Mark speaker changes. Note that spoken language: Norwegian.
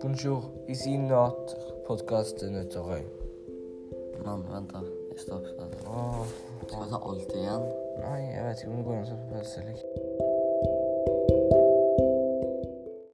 Speaker 1: Bonjour, ici notre podcast er Nøtterøy.
Speaker 2: Mann, vent da. Jeg stopper.
Speaker 1: Åh,
Speaker 2: Skal du ta alt igjen?
Speaker 1: ah, nei, jeg vet ikke om det går an å se på PC eller ikke.